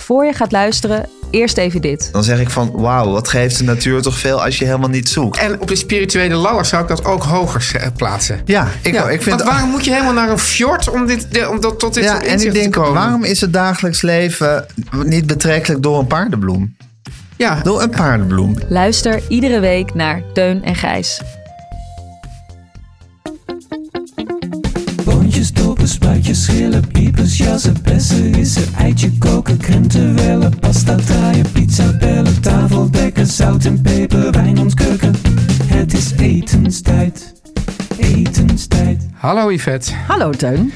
Voor je gaat luisteren, eerst even dit. Dan zeg ik van, wauw, wat geeft de natuur toch veel als je helemaal niet zoekt. En op de spirituele ladder zou ik dat ook hoger z- eh, plaatsen. Ja, ik, Ja, ook. ik vind... want waarom moet je helemaal naar een fjord om, dit, de- om dat, tot dit ja, ja, en ik denk, te komen? waarom is het dagelijks leven niet betrekkelijk door een paardenbloem? Ja, Door een paardenbloem. Luister iedere week naar Teun en Gijs. Boontjes, dopen, spuitjes, schillen, piepers, jassen, bessen, rissen, eitje koken, krenten wellen, pasta draaien, pizza bellen, tafel dekken, zout en peper, wijn ontkurken. Het is etenstijd, etenstijd. hallo Yvette. Hallo Teun.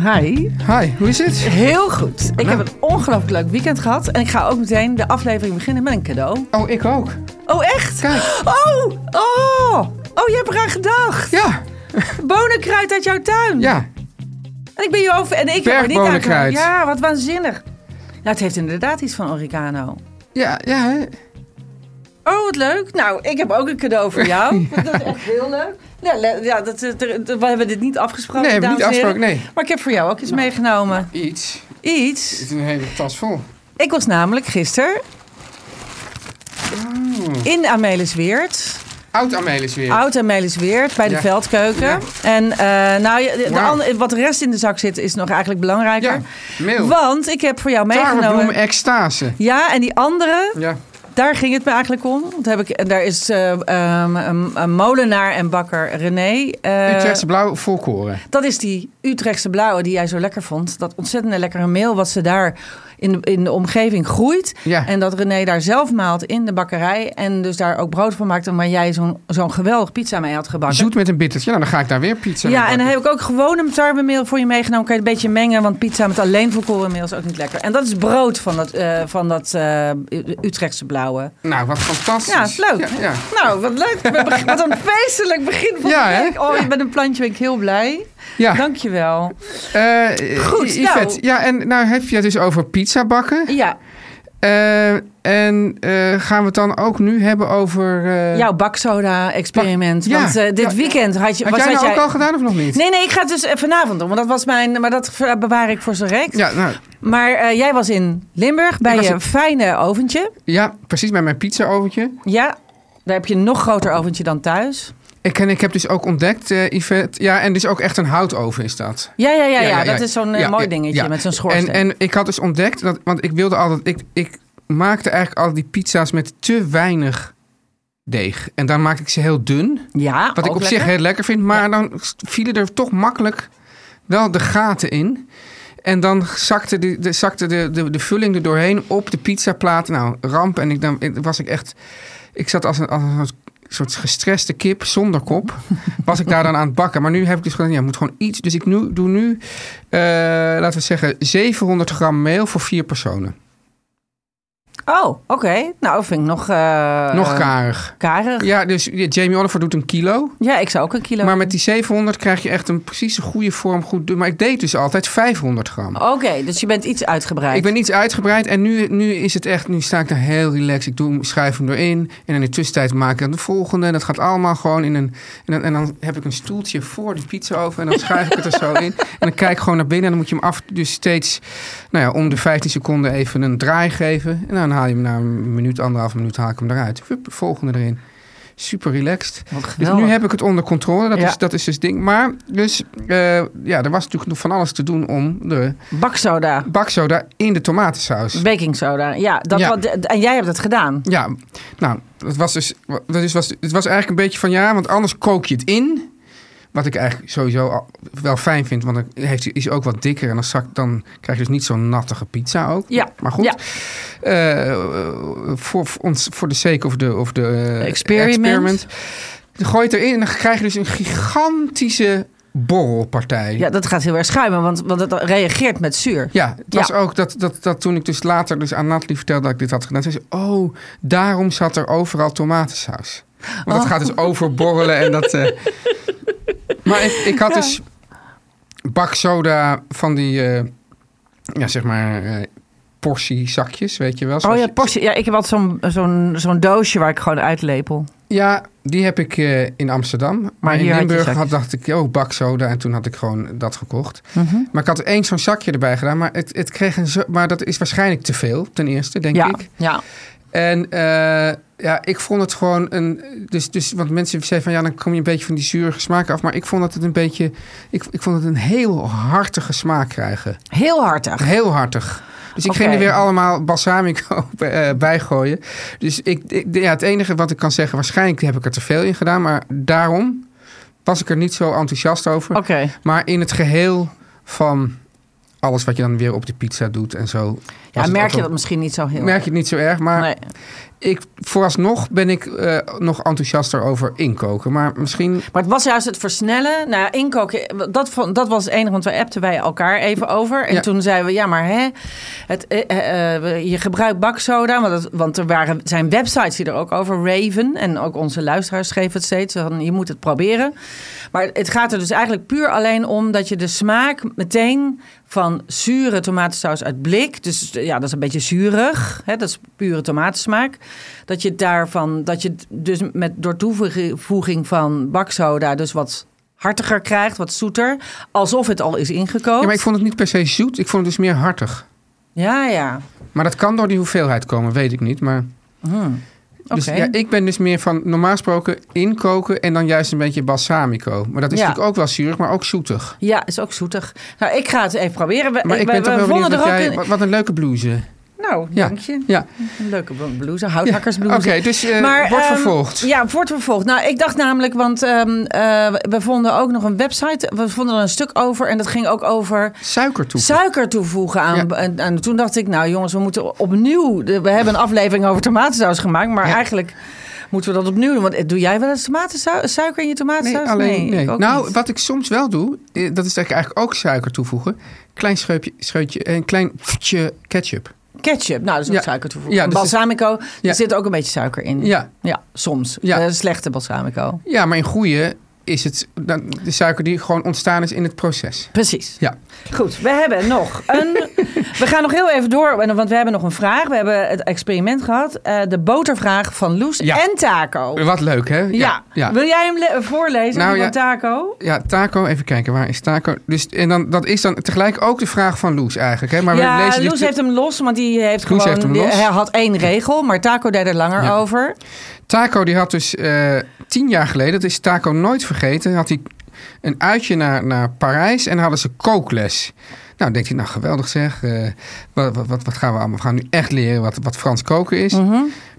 Hi. Hi, Nou. hoe is het? Heel goed. Ik heb een ongelooflijk leuk weekend gehad. En ik ga ook meteen de aflevering beginnen met een cadeau. Oh, ik ook. Oh, echt? Kijk. Oh, oh. Oh, je hebt eraan gedacht. Ja, Bonenkruid uit jouw tuin. ja. En ik ben je over... En ik heb er niet aan Bergbonenkruid. gedacht. Ja, wat waanzinnig. Nou, het heeft inderdaad iets van oregano. Ja, ja. hè? Oh, wat leuk. Nou, ik heb ook een cadeau voor jou. Dat is echt heel leuk. Ja, le- ja dat, dat- dat- we hebben dit niet afgesproken, Nee, hebben we niet dames en afgesproken, heren. nee. Nou. Maar ik heb voor jou ook iets meegenomen. Iets. Iets. Het is een hele tas vol. Ik was namelijk gisteren Mm. in Amelisweert, Oud Amelis weer. oud Amelisweert, bij de Ja. Veldkeuken. Ja. En eh, nou, ja, de, de Wauw. andere- wat de rest in de zak zit is nog eigenlijk belangrijker. Ja, meel. Want ik heb voor jou Tarwebloem meegenomen... extase. Ja, en die andere, Ja. daar ging het me eigenlijk om. Want heb ik, en daar is eh, ehm, een, een molenaar en bakker René. eh, Utrechtse blauw volkoren. dat is die Utrechtse blauwe die jij zo lekker vond. Dat ontzettend lekkere meel wat ze daar in de, in de omgeving groeit. Ja. En dat René daar zelf maalt in de bakkerij. En dus daar ook brood van maakt. Maar jij zo'n zo'n geweldig pizza mee had gebakken. Zoet met een bittertje. Nou, dan ga ik daar weer pizza mee ja, en dan bakken. heb ik ook gewoon een tarwemeel voor je meegenomen. Kan je het een beetje mengen, want pizza met alleen volkorenmeel is ook niet lekker. En dat is brood van dat, eh, van dat eh, U- Utrechtse blauwe. Nou, wat fantastisch. Ja, is leuk. Ja, ja. Nou, wat leuk. We beg- Wat een feestelijk begin van Ja, de hè? week. Oh, je bent een plantje, ben ik heel blij. Ja. Dankjewel. Eh, Goed, I- Yvette, nou. ja, en nou heb je het dus over pizza bakken. Ja, Eh, en eh, gaan we het dan ook nu hebben over... eh, Jouw baksoda-experiment. Bak- ja. Want eh, dit Ja. weekend had je... Had was- jij had nou ook al gedaan of nog niet? Nee, nee, ik ga het dus eh, vanavond doen. Want dat was mijn... Maar dat ver- bewaar ik voor z'n rek. Ja, nou, Maar eh, jij was in Limburg bij Ik was je in- fijne oventje. ja, precies, bij mijn pizza-oventje. Ja, daar heb je een nog groter oventje dan thuis. Ik, en ik heb dus ook ontdekt, eh Yvette... Ja, en dus ook echt een houtoven is dat. Ja, ja, ja, ja, ja, dat ja. is zo'n eh, Ja, mooi ja, dingetje ja. met zo'n schoorsteen. En, en ik had dus ontdekt, dat, want ik wilde altijd... Ik, ik maakte eigenlijk altijd die pizza's met te weinig deeg. En dan maakte ik ze heel dun. ja, Wat ik ook op zich lekker. heel lekker vind. Maar dan vielen er toch makkelijk wel de gaten in. En dan zakte de, de, zakte de, de, de vulling er doorheen op de pizzaplaat. Nou, ramp. En ik, dan ik- was ik echt... Ik zat als een, als een soort- soort gestreste kip zonder kop. Was ik daar dan aan het bakken. Maar nu heb ik dus gewoon... Ja, moet gewoon iets... Dus ik nu, doe nu, eh, laten we zeggen, 700 gram meel voor vier personen. Oh, oké. Nou, vind ik nog... eh, Nog karig. karig. Ja. Ja, dus Jamie Oliver doet een kilo. ik zou ook een kilo... Maar met die 700 krijg je echt een precieze goede vorm. Goed, doen. maar ik deed dus altijd 500 gram. Oké, dus je bent iets uitgebreid. Ik ben iets uitgebreid en nu, nu is het echt, nu sta ik daar heel relaxed. Ik doe, hem- schuif hem erin en in de tussentijd maak ik dan de volgende. En dat gaat allemaal gewoon in een, en dan, en dan heb ik een stoeltje voor de pizza over en dan schuif ik het er zo in. En dan kijk ik gewoon naar binnen en dan moet je hem af, dus steeds, nou ja, om de 15 seconden even een draai geven. En dan haal je hem na een minuut, anderhalf minuut, haal ik hem eruit. Hup, volgende erin. Super relaxed. Wat Dus geweldig. nu heb ik het onder controle. Dat, Ja. is, dat is dus het ding. Maar dus, eh, ja, er was natuurlijk nog van alles te doen om de Baksoda, baksoda in de tomatensaus. baking soda. Ja, dat Ja. Wat, en jij hebt dat gedaan. Ja, nou, het was dus, dat is, was, het was eigenlijk een beetje van ja, want anders kook je het in. Wat ik eigenlijk sowieso al wel fijn vind, want dan heeft, is hij ook wat dikker. En dan, zakt, dan krijg je dus niet zo'n nattige pizza ook. Ja, Maar goed, ja. eh, voor, voor, ons, voor de sake of de of de eh, Experiment. Je gooit erin en dan krijg je dus een gigantische borrelpartij. Ja, dat gaat heel erg schuimen, want, want het reageert met zuur. Ja, het was Ja. ook dat, dat, dat toen ik dus later dus aan Nathalie vertelde dat ik dit had gedaan, zei ze: Oh, daarom zat er overal tomatensaus. Want Oh. dat gaat dus overborrelen en dat. eh. Maar ik, ik had dus baksoda van die, eh, ja zeg maar, eh, portie zakjes, weet je wel. Oh zoals ja, je- postje. Ja, ik heb altijd zo'n zo'n zo'n doosje waar ik gewoon uitlepel. Ja, die heb ik eh, in Amsterdam. Maar, hier in had je Limburg had, zakjes. dacht ik, oh, baksoda. En toen had ik gewoon dat gekocht. Mhm. Maar ik had één zo'n zakje erbij gedaan. Maar, het, het kreeg een zo- maar dat is waarschijnlijk te veel, ten eerste, denk ja, ik. ja. En eh, ja, ik vond het gewoon een. Dus, dus, want mensen zeiden van ja, dan kom je een beetje van die zurige smaak af. Maar ik vond dat het een beetje. Ik, ik vond het een heel hartige smaak krijgen. Heel hartig. Heel hartig. Dus ik ging Oké. er weer allemaal balsamico eh, bij gooien. Dus ik, ik- ja, het enige wat ik kan zeggen, waarschijnlijk heb ik er te veel in gedaan. Maar daarom was ik er niet zo enthousiast over. Oké. Maar in het geheel van alles wat je dan weer op de pizza doet en zo. was Ja, het merk ook je wel- dat misschien niet zo heel Merk je het niet zo erg, maar Nee. ik, vooralsnog ben ik eh, nog enthousiaster over inkoken. Maar misschien. Maar het was juist het versnellen. Nou, ja, inkoken, dat, vond, dat was het enige, want wij appten wij elkaar even over. En Ja. toen zeiden we, ja, maar hè, het, eh, eh, eh, je gebruikt baksoda. Want, het- want er waren, zijn websites die er ook over raven. En ook onze luisteraars schreven het steeds. Van, je moet het proberen. Maar het gaat er dus eigenlijk puur alleen om dat je de smaak meteen van zure tomatensaus uit blik. Dus ja, dat is een beetje zuurig. Hè, dat is pure tomatensmaak. Dat je daarvan, dat je het dus met door toevoeging van baksoda, dus wat hartiger krijgt, wat zoeter. Alsof het al is ingekookt. Ja, maar ik vond het niet per se zoet, ik vond het dus meer hartig. ja, ja. Maar dat kan door die hoeveelheid komen, weet ik niet. Maar, Hmm. dus, Oké. ja, ik ben dus meer van normaal gesproken inkoken en dan juist een beetje balsamico. Maar dat is Ja. natuurlijk ook wel zuurig, maar ook zoetig. Ja, is ook zoetig. Nou, ik ga het even proberen. We, Maar ik Eh, we- ben toch we wel vonden benieuwd wat, er ook jij, een- wat, wat een leuke blouse. Nou, Ja. dank je. Ja, Een leuke blouse, houthakkersblouse. Oké, dus eh, Maar, wordt ehm, vervolgd. Ja, wordt vervolgd. Nou, ik dacht namelijk, want ehm, eh, we vonden ook nog een website. We vonden er een stuk over en dat ging ook over Suiker toe. suiker toevoegen aan. Ja. En, en toen dacht ik, nou jongens, we moeten opnieuw. de- We hebben een aflevering over tomatensaus gemaakt, maar Ja. eigenlijk moeten we dat opnieuw doen. Want eh, doe jij wel eens tomatensaus, suiker in je Nee, tomatensaus? alleen, nee. ik ook nou, niet. wat ik soms wel doe, eh, dat is dat ik eigenlijk ook suiker toevoegen. Klein scheupje, scheutje, een klein pftje ketchup. ketchup. Nou, dat is ook Ja. suiker toevoegen. Ja, dus het- balsamico, Ja. er zit ook een beetje suiker in. Ja, Ja, soms. Ja. Eh, slechte balsamico. Ja, maar in goede is het dan de suiker die gewoon ontstaan is in het proces. Precies. Ja. Goed, we hebben nog een. we gaan nog heel even door, want we hebben nog een vraag. We hebben het experiment gehad. eh, de botervraag van Loes Ja. en Taco. Ja. Wat leuk, hè? ja. Wil jij hem le- voorlezen? Nou, die van ja. Taco? Ja, taco, even kijken, waar is taco? Dus, en dan, dat is dan tegelijk ook de vraag van Loes eigenlijk. Hè? Maar ja, we lezen dus Loes de- heeft hem los, want die heeft Loes gewoon. heeft hem die- los. hij had één regel, maar Taco deed er langer Ja. over. Taco die had dus eh, tien jaar geleden, dat is Taco nooit vergeten, had hij een uitje naar, naar Parijs en hadden ze kookles. Nou, denkt hij, nou geweldig zeg, eh, wat, wat, wat, wat gaan we allemaal, we gaan nu echt leren wat, wat Frans koken is.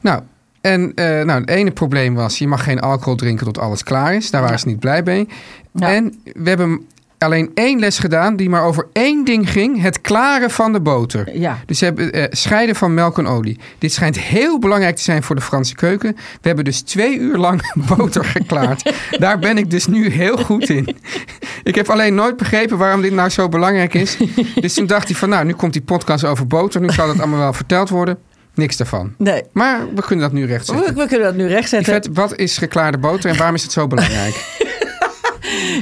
Nou, en eh, nou, het ene probleem was, je mag geen alcohol drinken tot alles klaar is. Daar waren ze niet blij mee. Ja. En we hebben alleen één les gedaan die maar over één ding ging, het klaren van de boter. Ja. Dus ze hebben eh, scheiden van melk en olie. Dit schijnt heel belangrijk te zijn voor de Franse keuken. We hebben dus twee uur lang boter geklaard. Daar ben ik dus nu heel goed in. Ik heb alleen nooit begrepen waarom dit nou zo belangrijk is. Dus toen dacht hij van nou, nu komt die podcast over boter. Nu zal dat allemaal wel verteld worden. Niks daarvan. Nee. Maar we kunnen dat nu rechtzetten. We, we kunnen dat nu rechtzetten. Yvette, wat is geklaarde boter en waarom is het zo belangrijk?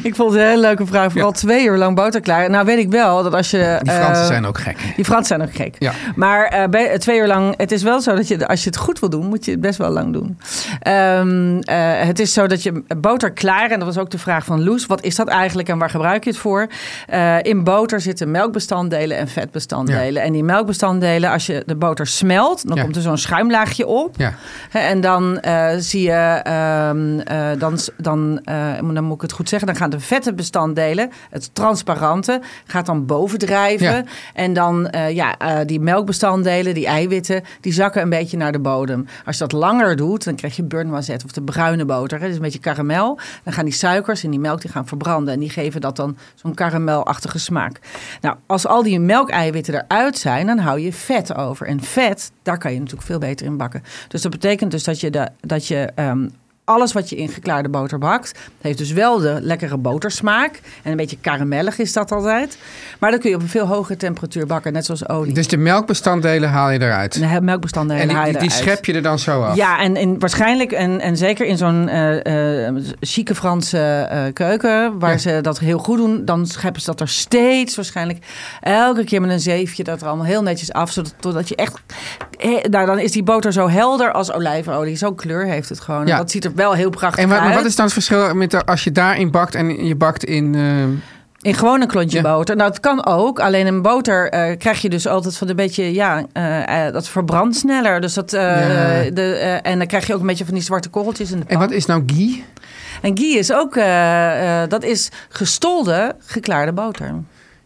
Ik vond het een hele leuke vraag. Vooral twee uur lang boterklaar. Nou weet ik wel dat als je... Die Fransen eh, zijn ook gek. Die Fransen zijn ook gek. Ja. Maar eh, bij- twee uur lang, het is wel zo dat je, als je het goed wil doen, moet je het best wel lang doen. Ehm, eh, het is zo dat je boter klaar, en dat was ook de vraag van Loes, wat is dat eigenlijk en waar gebruik je het voor? Eh, in boter zitten melkbestanddelen en vetbestanddelen. En die melkbestanddelen, als je de boter smelt, dan Ja. komt er zo'n schuimlaagje op. Ja. Hè, En dan eh, zie je, ehm, eh, dan, s- dan, eh, moet- dan moet ik het goed zeggen, dan gaan de vette bestanddelen, het transparante, gaat dan bovendrijven. Ja. En dan eh, ja, eh, die melkbestanddelen, die eiwitten, die zakken een beetje naar de bodem. Als je dat langer doet, dan krijg je beurnoisette of de bruine boter. Hè? Dus een beetje karamel. Dan gaan die suikers in die melk die gaan verbranden. En die geven dat dan zo'n karamelachtige smaak. Nou, als al die melkeiwitten eruit zijn, dan hou je vet over. En vet, daar kan je natuurlijk veel beter in bakken. Dus dat betekent dus dat je, de, dat je ehm, alles wat je in geklaarde boter bakt, heeft dus wel de lekkere botersmaak. En een beetje karamellig is dat altijd. Maar dat kun je op een veel hogere temperatuur bakken, net zoals olie. Dus de melkbestanddelen haal je eruit. de he- melkbestanddelen en die, haal je die, die eruit. schep je er dan zo af. Ja, en, en waarschijnlijk, en, en zeker in zo'n eh, eh, chique Franse eh, keuken, waar Ja. ze dat heel goed doen, dan scheppen ze dat er steeds waarschijnlijk elke keer met een zeefje dat er allemaal heel netjes af, zodat totdat je echt, eh, nou dan is die boter zo helder als olijfolie, zo'n kleur heeft het gewoon. Ja. Dat ziet er wel heel prachtig En wat, maar uit. wat is dan het verschil met de- als je daarin bakt en je bakt in... eh, In gewoon een klontje Ja. boter. Nou, het kan ook. Alleen een boter eh, krijg je dus altijd van een beetje, ja, eh, eh, dat verbrandt sneller. Dus dat, eh, Ja. de, eh, en dan krijg je ook een beetje van die zwarte korreltjes in de pan. en wat is nou ghee? En ghee is ook, eh, eh, dat is gestolde geklaarde boter.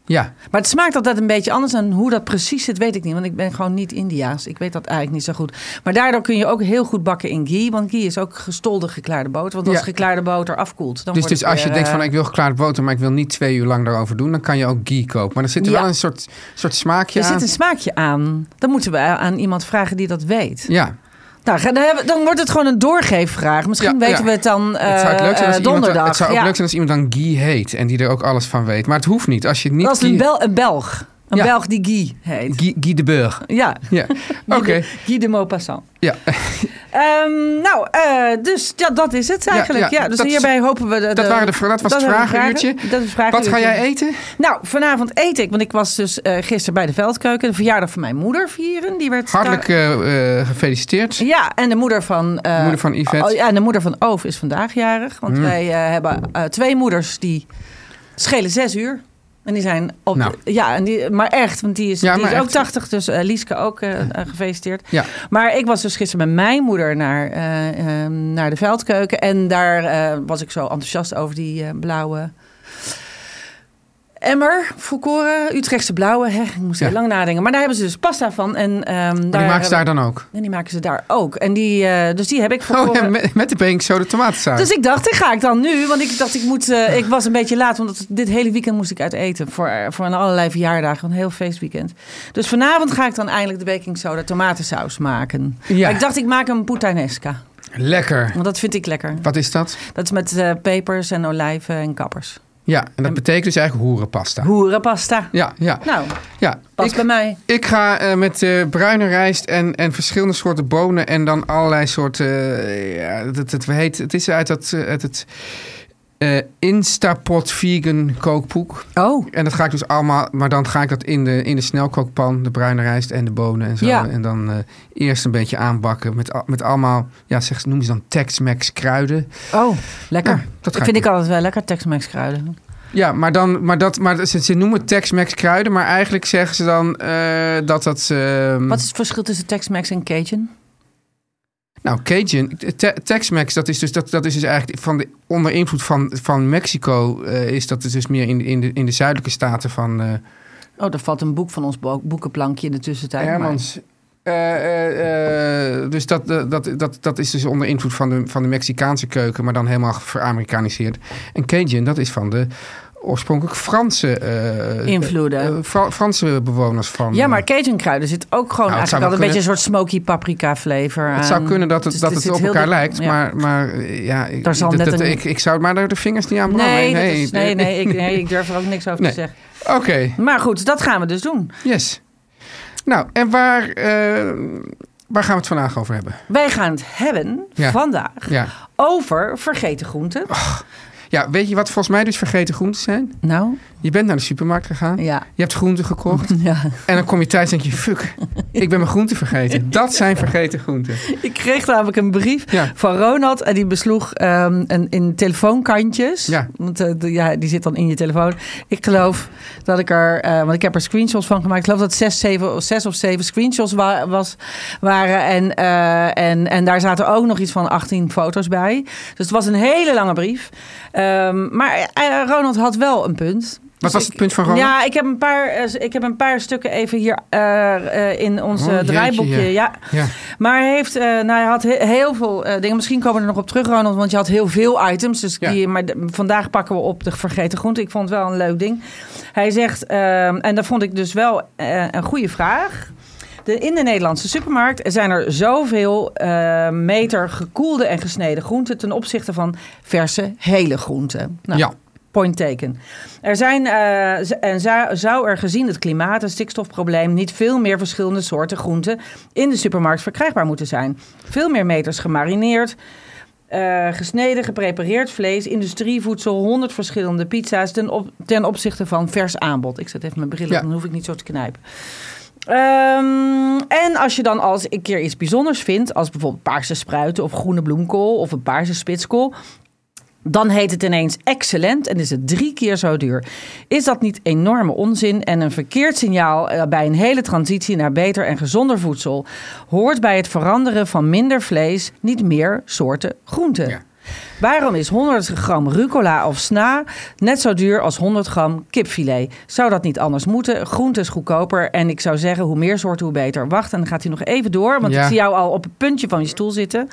Ja, Maar het smaakt altijd een beetje anders. En hoe dat precies zit, weet ik niet. Want ik ben gewoon niet Indiaas. Ik weet dat eigenlijk niet zo goed. Maar daardoor kun je ook heel goed bakken in ghee. Want ghee is ook gestolde geklaarde boter. Want als Ja. geklaarde boter afkoelt, dan dus, wordt dus het als je weer, denkt van eh, ik wil geklaard boter, maar ik wil niet twee uur lang daarover doen, dan kan je ook ghee kopen. Maar er zit er Ja. wel een soort, soort smaakje Er aan. zit een smaakje aan. Dan moeten we aan iemand vragen die dat weet. Ja, Nou, ga- dan, hebben- dan wordt het gewoon een doorgeefvraag. Misschien Ja, weten ja. we het dan eh het zou ook leuk zijn als eh, iemand, donderdag. het zou ook ja. leuk zijn als iemand dan ghee heet en die er ook alles van weet. Maar het hoeft niet. Als je het niet Als een, ghee, Bel, een Belg. Een Ja. Belg die Guy heet. ghee, ghee de Burg. Ja, Ja, oké. Guy de Maupassant. Ja. Ehm, nou, eh, dus ja, dat is het eigenlijk. Ja, ja, dus dat- hierbij hopen we... De, dat waren de vra- dat was het eh, waren de vragenuurtje. vragen. Dat is het vragenuurtje. Wat ga jij eten? Nou, vanavond eet ik, want ik was dus eh, gisteren bij de Veldkeuken... de verjaardag van mijn moeder vieren. Die werd Hartelijk eh, eh, gefeliciteerd. Ja, en de moeder van... eh, Moeder van Yvette. Hmm. Oh, ja, en de moeder van Oof is vandaag jarig. Want wij eh, hebben eh, twee moeders die schelen zes uur. En die zijn op... Nou. Ja, en die, maar echt, want die is, Ja, die is maar ook echt. 80. Dus eh, Lieske ook eh, eh, gefeliciteerd. Ja. Maar ik was dus gisteren met mijn moeder naar, eh, eh, naar de Veldkeuken. En daar eh, was ik zo enthousiast over die eh, blauwe... Emmer, Foucoren, Utrechtse blauwe. Hè? Ik moest heel Ja. lang nadenken. Maar daar hebben ze dus pasta van. En, ehm, Maar die maken ze daar dan ook. en die maken ze daar ook. En die, eh, dus die heb ik Oh, verkocht. ja, met, met de baking soda tomatensaus. dus ik dacht, dit ga ik dan nu. Want ik dacht, ik, moet, eh, ik was een beetje laat. Want dit hele weekend moest ik uit eten. Voor, eh, voor een allerlei verjaardagen. Een heel feestweekend. Dus vanavond ga ik dan eindelijk de baking soda tomatensaus maken. Ja. Maar ik dacht, ik maak een puttanesca. Lekker. Want dat vind ik lekker. Wat is dat? Dat is met eh, pepers en olijven en kappers. Ja, en dat betekent dus eigenlijk hoerenpasta. Hoerenpasta. Ja, ja, Nou, ja. past Ik, bij mij. ik ga eh, met eh, bruine rijst en, en verschillende soorten bonen en dan allerlei soorten... eh, ja, het, het, heet, het is uit, dat, eh, uit het eh, Instapot vegan kookboek. Oh. En dat ga ik dus allemaal, maar dan ga ik dat in de, in de snelkookpan, de bruine rijst en de bonen en zo. Ja. En dan eh, eerst een beetje aanbakken met, al- met allemaal, ja, zeg, noemen ze dan Tex-Mex kruiden. Oh, lekker. Ja, dat ga vind ik ik altijd wel lekker, Tex-Mex kruiden. Ja, maar, dan, maar, dat, maar ze, ze noemen het Tex-Mex kruiden, maar eigenlijk zeggen ze dan eh, dat dat... ehm, Wat is het verschil tussen Tex-Mex en Cajun? Nou, Cajun, Te- Tex-Mex, dat is dus, dat, dat is dus eigenlijk van de, onder invloed van, van Mexico, eh, is dat dus meer in, de- in, de, in de zuidelijke staten van... eh, Oh, er valt een boek van ons bo- boekenplankje in de tussentijd. maar- Hermans. Eh, eh, eh, dus dat, eh, dat, dat, dat is dus onder invloed van de, van de Mexicaanse keuken, maar dan helemaal veramerikaniseerd. En Cajun, dat is van de oorspronkelijk Franse eh, Invloeden. eh, Fra- Franse bewoners van. Ja, eh, maar Cajun kruiden zit ook gewoon Nou, het zou eigenlijk wel wel een beetje een soort smoky paprika flavor aan. het zou kunnen dat het, Dus dat dit het zit op heel elkaar dik- lijkt, ja. maar, maar eh, ja, ik- Daar zal dat- net dat- een- ik, ik zou maar daar de vingers niet aan branden. Nee, dat is- nee, nee, ik, nee, ik durf er ook niks over Nee. te zeggen. Oké, Maar goed, dat gaan we dus doen. yes. Nou, en waar, eh, waar gaan we het vandaag over hebben? Wij gaan het hebben Ja. Oh. vandaag Ja. over vergeten groenten. Ja, weet je wat volgens mij dus vergeten groenten zijn? Nou, Je bent naar de supermarkt gegaan. ja. Je hebt groenten gekocht. ja. En dan kom je thuis en denk je, fuck, ik ben mijn groenten vergeten. Dat zijn vergeten groenten. Ik kreeg namelijk een brief Ja. van Ronald. En die besloeg ehm, een, in telefoonkantjes. Ja. Want eh, de- ja, die zit dan in je telefoon. Ik geloof dat ik er... eh, want ik heb er screenshots van gemaakt. Ik geloof dat het zes, zeven, of zes of zeven screenshots wa- was, waren. En, eh, en, en daar zaten ook nog iets van 18 foto's bij. Dus het was een hele lange brief. Ehm, maar eh, Ronald had wel een punt. Dus Wat was ik- het punt van Ronald? Ja, ik heb een paar, eh, ik heb een paar stukken even hier eh, eh, in ons Oh, eh, jeetje, draaiboekje. ja. Ja, Ja. maar hij, heeft, eh, nou, hij had he- heel veel eh, dingen. Misschien komen we er nog op terug, Ronald. Want je had heel veel items. Dus Ja. die, maar de- vandaag pakken we op de vergeten groente. Ik vond het wel een leuk ding. Hij zegt, ehm, en dat vond ik dus wel eh, een goede vraag. De, in de Nederlandse supermarkt zijn er zoveel eh, meter gekoelde en gesneden groenten... ten opzichte van verse hele groenten. Nou, ja. Point taken. Er zijn, eh, z- en zou, zou er gezien het klimaat en stikstofprobleem niet veel meer verschillende soorten groenten in de supermarkt verkrijgbaar moeten zijn. Veel meer meters gemarineerd, eh, gesneden, geprepareerd vlees, industrievoedsel, 100 verschillende pizza's ten, op, ten opzichte van vers aanbod. Ik zet even mijn bril op, Ja. dan hoef ik niet zo te knijpen. Ehm, en als je dan als een keer iets bijzonders vindt, als bijvoorbeeld paarse spruiten of groene bloemkool of een paarse spitskool, dan heet het ineens excellent en is het drie keer zo duur. Is dat niet enorme onzin en een verkeerd signaal eh, bij een hele transitie naar beter en gezonder voedsel? Hoort bij het veranderen van minder vlees niet meer soorten groenten? Ja. Waarom is 100 gram rucola of sna net zo duur als 100 gram kipfilet? Zou dat niet anders moeten? Groente is goedkoper en ik zou zeggen hoe meer soorten hoe beter. Wacht, en dan gaat hij nog even door, want Ja. ik zie jou al op het puntje van je stoel zitten.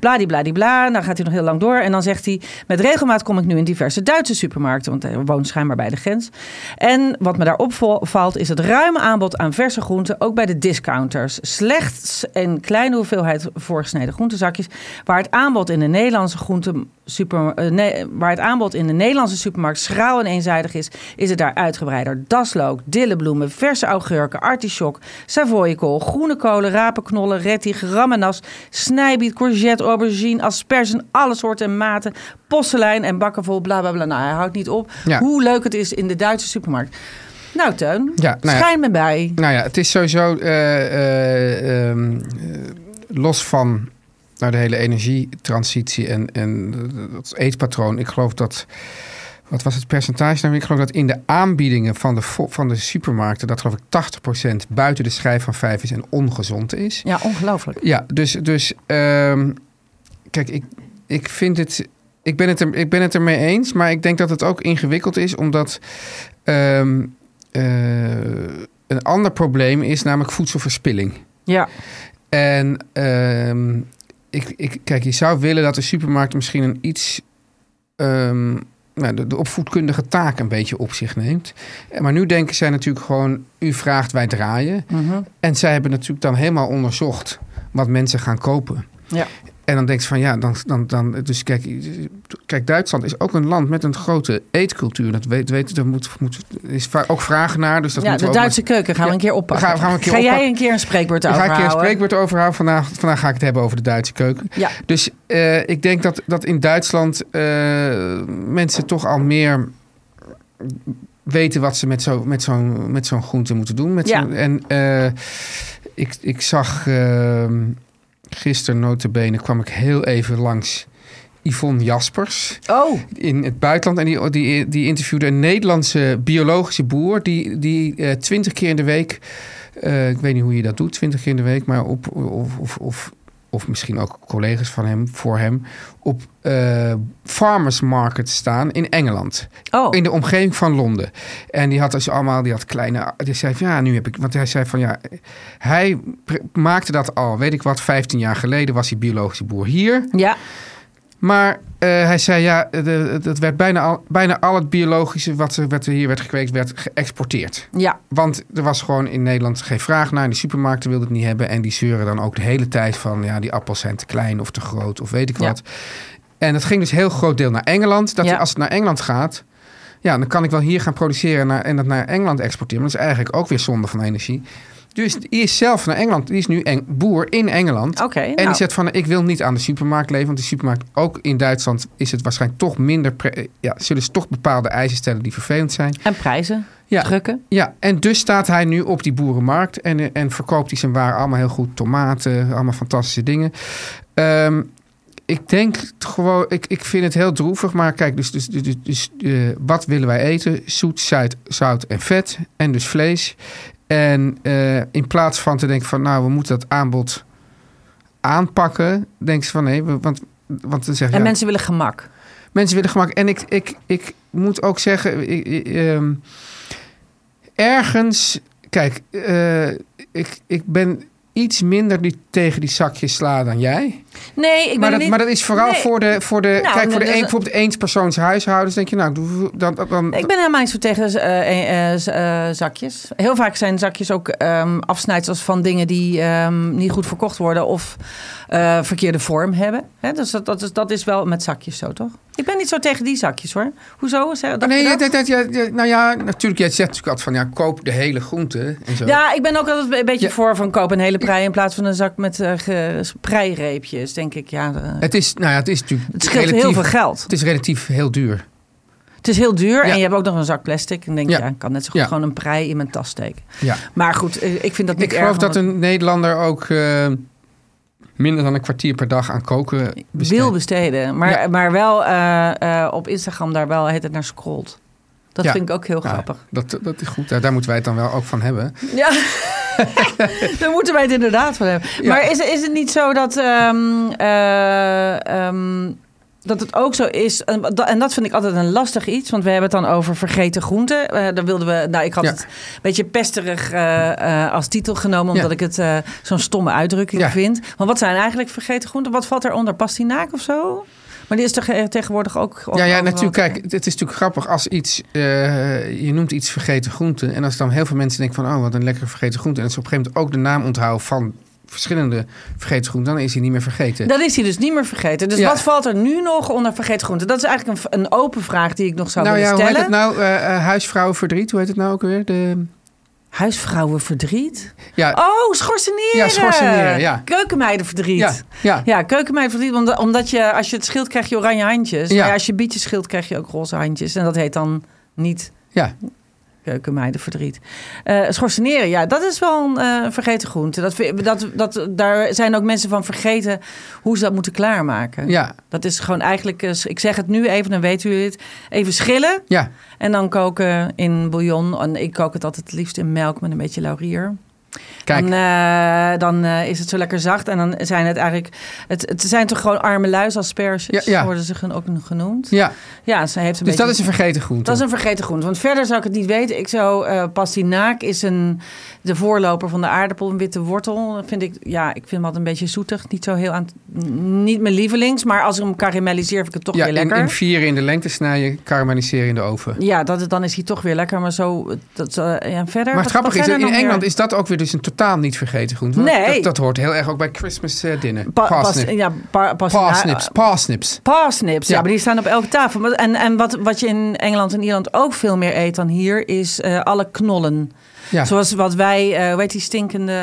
Bladibladibla, dan gaat hij nog heel lang door. En dan zegt hij, met regelmaat kom ik nu in diverse Duitse supermarkten, want hij woont schijnbaar bij de grens. En wat me daar opvalt is het ruime aanbod aan verse groenten, ook bij de discounters. Slechts een kleine hoeveelheid voorgesneden groentezakjes, waar het aanbod in de Nederlandse groenten... Super, eh, nee, waar het aanbod in de Nederlandse supermarkt schraal en eenzijdig is, is het daar uitgebreider. Daslook, dillebloemen, verse augurken, artichok, savoiekool, groene kolen, rapenknollen, rettig, ramenas, snijbiet, courgette, aubergine, asperges, alle soorten en maten, posselijn en bakken vol, bla bla bla. Nou, hij houdt niet op Ja. hoe leuk het is in de Duitse supermarkt. Nou, Teun, Ja, nou ja. schijn me bij. Nou ja, het is sowieso eh, eh, ehm, eh, los van nou, de hele energietransitie en, en eh, dat eetpatroon. Ik geloof dat. Wat was het percentage? Nou, ik geloof dat in de aanbiedingen van de, vo- van de supermarkten, dat geloof ik 80% buiten de schijf van 5 is en ongezond is. Ja, ongelooflijk. Ja, dus, dus ehm, kijk, ik, ik vind het. Ik ben, het er, ik ben het ermee eens, maar ik denk dat het ook ingewikkeld is, omdat ehm, eh, een ander probleem is namelijk voedselverspilling. Ja, En ehm, ik, ik, kijk, je zou willen dat de supermarkt misschien een iets. ehm, nou, de, de opvoedkundige taak een beetje op zich neemt. Eh, Maar nu denken zij natuurlijk gewoon: u vraagt, wij draaien. mhm. En zij hebben natuurlijk dan helemaal onderzocht wat mensen gaan kopen. Ja. En dan denk je van ja, dan, dan, dan dus kijk, kijk, Duitsland is ook een land met een grote eetcultuur. Dat weet, weet er moet, moet, is va- ook vraag naar. Dus dat ja moeten de we ook Duitse keuken gaan we Ja, een keer oppakken. gaan we- gaan we een keer Ga jij oppakken. een keer een spreekwoord met- Daar ga ik je een overhouden? spreekwoord overhouden. Vandaag, vandaag ga ik het hebben over de Duitse keuken. Ja. Dus eh, ik denk dat, dat in Duitsland eh, mensen toch al meer weten wat ze met zo'n met zo'n met zo'n groente moeten doen. Met Ja. zo'n- en eh, ik, ik zag ehm gisteren notabene kwam ik heel even langs Yvonne Jaspers Oh, in het buitenland. En die, die, die interviewde een Nederlandse biologische boer. Die, die eh, twintig keer in de week. eh, ik weet niet hoe je dat doet, twintig keer in de week. Maar op, of, of, of, of misschien ook collega's van hem, voor hem. Op eh, farmers markets staan in Engeland. oh. In de omgeving van Londen. En die had dus allemaal, die had kleine. Die zei van ja, nu heb ik. Want hij zei van ja. Hij pre- maakte dat al, weet ik wat, 15 jaar geleden was hij biologische boer hier. Ja, Maar eh, hij zei ja, de- dat werd bijna al, bijna al het biologische wat, er- wat er hier werd gekweekt, werd geëxporteerd. ja, Want er was gewoon in Nederland geen vraag naar. En de supermarkten wilden het niet hebben. En die zeuren dan ook de hele tijd van ja, die appels zijn te klein of te groot of weet ik Ja. wat. En dat ging dus heel groot deel naar Engeland. Dat Ja. als het naar Engeland gaat, Ja, dan kan ik wel hier gaan produceren naar, en dat naar Engeland exporteren. Maar dat is eigenlijk ook weer zonde van energie. Dus die is zelf naar Engeland. Die is nu Eng- boer in Engeland. Oké, en nou. die zegt van, ik wil niet aan de supermarkt leven. Want de supermarkt, ook in Duitsland, is het waarschijnlijk toch minder... pre- eh, ja, zullen ze toch bepaalde eisen stellen die vervelend zijn. En prijzen Ja, drukken. ja, en dus staat hij nu op die boerenmarkt en, eh, en verkoopt hij zijn waren allemaal heel goed. Tomaten, allemaal fantastische dingen. Ehm, ik denk t- gewoon, ik, ik vind het heel droevig, maar kijk, dus, dus, dus, dus, eh, wat willen wij eten? Zoet, zuid, zout en vet en dus vlees. En eh, in plaats van te denken van, nou, we moeten dat aanbod aanpakken, denken ze van nee, we- want, want dan zeggen En mensen willen gemak. Mensen willen gemak. En ik, ik, ik moet ook zeggen, ik- ik- ehm, ergens, kijk, eh, ik, ik ben iets minder die, tegen die zakjes sla dan jij. Nee, ik ben Maar er dat, niet... maar dat is vooral Nee. Nou, voor de, voor de, kijk, dat voor de is- een, bijvoorbeeld eenspersoonshuishoudens. Denk je, nou, ik doe- dan, dan, dan, Ik ben helemaal niet zo tegen eh, eh, z- eh, zakjes. Heel vaak zijn zakjes ook ehm afsnijdsels van dingen die ehm, niet goed verkocht worden of eh, verkeerde vorm hebben. Hè, dus dat, dat, is, dat is wel met zakjes zo, toch? Ik ben niet zo tegen die zakjes hoor. Hoezo? Zeg, dacht nee, je dat? dat- dat- ja, ja, nou ja, natuurlijk, jij zegt natuurlijk altijd van, ja, koop de hele groente en zo. Ja, ik ben ook altijd een beetje Ja. voor van koop een hele prei in plaats van een zak met eh ge- preireepjes, denk ik. Ja, eh, Het is, nou ja, het is natuurlijk het scheelt heel relatief- veel geld. Het is relatief heel duur. Het is heel duur Ja. en je hebt ook nog een zak plastic. En denk je, Ja. ja, ik kan net zo goed Ja. gewoon een prei in mijn tas steken. Ja. Maar goed, eh, ik vind dat niet Ik erg, geloof dat omdat- een Nederlander ook eh, minder dan een kwartier per dag aan koken besteedt. wil besteden. Maar, Ja. maar wel eh, eh, op Instagram daar wel het naar scrolt. Dat Ja. vind ik ook heel Ja, grappig. dat, dat is goed, daar, daar moeten wij het dan wel ook van hebben. Ja, daar moeten wij het inderdaad van hebben. Ja. Maar is, is het niet zo dat, ehm, eh, ehm, dat het ook zo is? En dat, en dat vind ik altijd een lastig iets, want we hebben het dan over vergeten groenten. Eh daar wilden we, nou, ik had Ja. het een beetje pesterig eh, eh, als titel genomen, omdat Ja. ik het eh, zo'n stomme uitdrukking Ja. vind. Maar wat zijn eigenlijk vergeten groenten? Wat valt daaronder? Pastinaak of zo? Maar die is toch eh, tegenwoordig ook. ja, ja, overal natuurlijk. te- Kijk, het is natuurlijk grappig als iets, eh, je noemt iets vergeten groente. En als dan heel veel mensen denken van, oh, wat een lekkere vergeten groente. En als ze op een gegeven moment ook de naam onthouden van verschillende vergeten groenten, dan is hij niet meer vergeten. Dat is hij dus niet meer vergeten. Dus Ja. wat valt er nu nog onder vergeten groenten? Dat is eigenlijk een, v- een open vraag die ik nog zou nou ja, willen hoe heet stellen. het nou? Eh, eh, huisvrouwenverdriet, hoe heet het nou ook weer? De, Huisvrouwenverdriet? ja, Oh, schorseneren! Ja, schorseneren, ja. Keukenmeidenverdriet. ja, ja, Ja, keukenmeidenverdriet, omdat, omdat je, als je het schilt krijg je oranje handjes. Ja. Maar ja, als je bietjes schilt krijg je ook roze handjes. En dat heet dan niet ja. keukenmeidenverdriet. Eh schorseneren, ja, dat is wel een eh, vergeten groente. Dat, vind- dat, dat, daar zijn ook mensen van vergeten hoe ze dat moeten klaarmaken. ja. Dat is gewoon eigenlijk, eh, ik zeg het nu even, dan weten jullie het. Even schillen ja. en dan koken in bouillon. En ik kook het altijd het liefst in melk met een beetje laurier. Kijk, Dan, eh, dan eh, is het zo lekker zacht. En dan zijn het eigenlijk... Het, het zijn toch gewoon arme luisasperges? Ja, ja. Worden ze gen- ook nog genoemd. ja. Ja, ze heeft eh, een Dus beetje... dat is een vergeten groente. dat is een vergeten groente. Want verder zou ik het niet weten. Ik zou... eh pastinaak is een, de voorloper van de aardappel. Een witte wortel. Dat vind ik... Ja, ik vind hem altijd een beetje zoetig. Niet zo heel aan... Niet mijn lievelings. Maar als ik hem karamelliseer vind ik het toch ja, weer in, lekker. in vieren in de lengte snijden, karamelliseren in de oven. Ja, dat, dan is hij toch weer lekker. Maar zo... Dat, eh, Maar ja, verder... het wat- wat grappige is, dat zijn er in nog meer? Engeland is dat ook weer dus een totaal niet vergeten groente. Want Nee. Dat, dat hoort heel erg ook bij Christmas eh, dinner. Pa- pas- parsnips. ja, pa- pastinaak- parsnips, parsnips. Parsnips, ja. Ja. maar die staan op elke tafel. Maar- En, en wat, wat je in Engeland en Ierland ook veel meer eet dan hier, is eh, alle knollen. Ja. Zoals wat wij, eh hoe heet die stinkende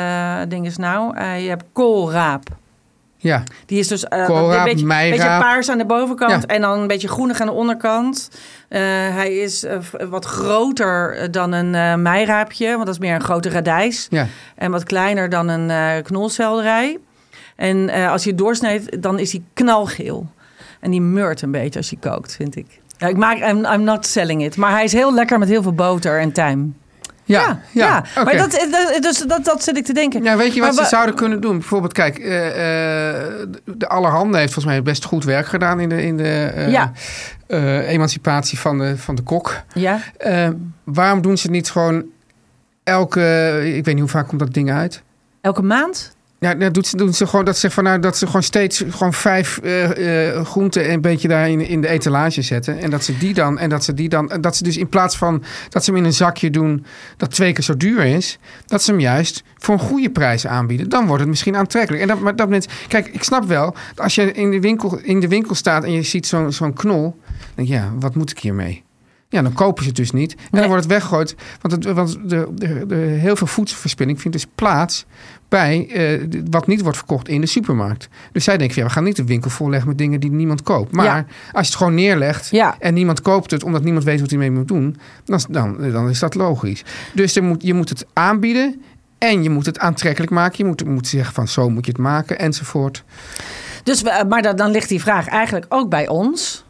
dinges nou? Eh, je hebt koolraap. ja. Die is dus eh, Koolraap, een beetje, meiraap. beetje paars aan de bovenkant Ja. en dan een beetje groenig aan de onderkant. Eh, hij is eh, v- wat groter dan een eh meiraapje, want dat is meer een grote radijs. ja. En wat kleiner dan een eh knolselderij. En eh, als je het doorsnijdt, dan is die knalgeel. En die meurt een beetje als je kookt, vind ik. Ja, ik maak, I'm, I'm not selling it. Maar hij is heel lekker met heel veel boter en tijm. Ja, ja, oké. maar dat, dat, dus dat, dat zit ik te denken. Ja, weet je Maar wat ze wa- zouden kunnen doen? Bijvoorbeeld, kijk, eh, eh, de Allerhande heeft volgens mij best goed werk gedaan in de, in de eh, Ja. eh, emancipatie van de, van de kok. Ja, Eh, waarom doen ze het niet gewoon elke, ik weet niet hoe vaak komt dat ding uit? elke maand? Ja, dat doet ze, doen ze gewoon, dat ze, van, nou, dat ze gewoon steeds gewoon vijf eh, eh, groenten een beetje daar in, in de etalage zetten. En dat ze die dan, en dat ze die dan, en dat ze dus in plaats van dat ze hem in een zakje doen dat twee keer zo duur is, dat ze hem juist voor een goede prijs aanbieden. Dan wordt het misschien aantrekkelijk. En dat, maar dat mensen, kijk, ik snap wel, als je in de winkel, in de winkel staat en je ziet zo'n zo'n knol, dan denk je, ja, wat moet ik hiermee? Ja, dan kopen ze het dus niet. En Nee. dan wordt het weggegooid. Want, het, want de, de, de, heel veel voedselverspilling vindt dus plaats bij eh, d- wat niet wordt verkocht in de supermarkt. Dus zij denken, van, ja, we gaan niet de winkel volleggen met dingen die niemand koopt. Maar Ja. als je het gewoon neerlegt Ja. en niemand koopt het omdat niemand weet wat hij mee moet doen, dan, is- dan, dan is dat logisch. Dus er moet, je moet het aanbieden en je moet het aantrekkelijk maken. Je moet, moet zeggen van zo moet je het maken enzovoort. Dus, we- maar dat, dan ligt die vraag eigenlijk ook bij ons.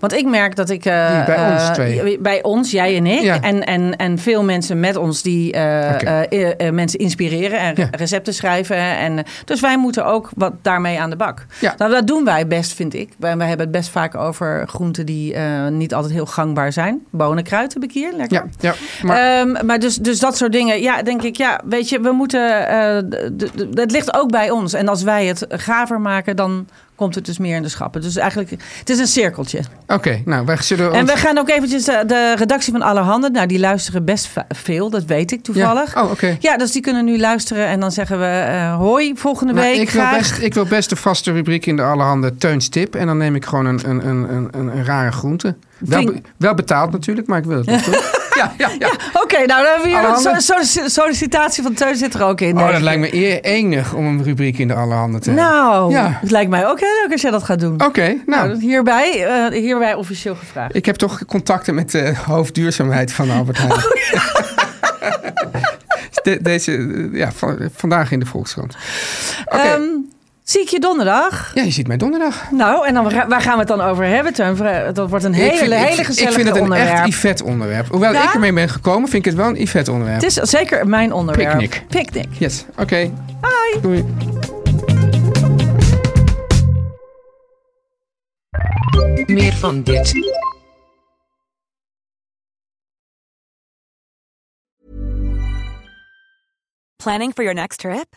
Want ik merk dat ik... eh, Wie, bij eh, ons twee? Bij ons, jij en ik. Ja. En, en, en veel mensen met ons die eh, Oké. eh, eh, eh, mensen inspireren en Ja. recepten schrijven. En, eh, dus wij moeten ook wat daarmee aan de bak. Ja. Nou, dat doen wij best, vind ik. Wij, wij hebben het best vaak over groenten die eh, niet altijd heel gangbaar zijn. Bonenkruid heb ik hier, lekker. Ja, ja maar Maar, maar dus, dus dat soort dingen, ja, denk ik, ja, weet je, we moeten. eh, d- d- d- het ligt ook bij ons. En als wij het gaver maken, dan komt het dus meer in de schappen. Dus eigenlijk, het is een cirkeltje. oké, nou wij zullen Eh, En ons- we gaan ook eventjes de, de redactie van Allerhande. Nou, die luisteren best va- veel, dat weet ik toevallig. Ja. Oh, oké. Ja, dus die kunnen nu luisteren en dan zeggen we eh, hoi volgende Maar week. Nou, ik, wil graag. best, ik wil best de vaste rubriek in de allerhande Teuns tip. En dan neem ik gewoon een, een, een, een, een, een rare groente. Wel, Vink. be- wel betaald natuurlijk, maar ik wil het wel doen. ja, ja, ja. Oké, nou dan hebben we hier Allerhande. een so- so- sollicitatie van Teun zit er ook in. Oh, denk dat ik. lijkt me eer enig om een rubriek in de allerhande te hebben. Nou, Ja. het lijkt mij ook heel leuk als jij dat gaat doen. Oké, nou. Nou, hierbij, eh, hierbij officieel gevraagd. Ik heb toch contacten met de hoofdduurzaamheid van Albert Heijn. Oh, De- deze, eh, ja, van- vandaag in de Volkskrant. Oké, Ehm, zie ik je donderdag. ja, je ziet mij donderdag. Nou, en dan, waar gaan we het dan over hebben, Teun? Vra- Dat wordt een hele, ik vind, ik- hele gezellige Ik vind het een onderwerp. echt Yvette onderwerp. Hoewel Ja? ik ermee ben gekomen, vind ik het wel een Yvette onderwerp. het is zeker mijn onderwerp. Picknick. Picnic. Yes, oké. Bye. Doei. Meer van dit. Planning for your next trip?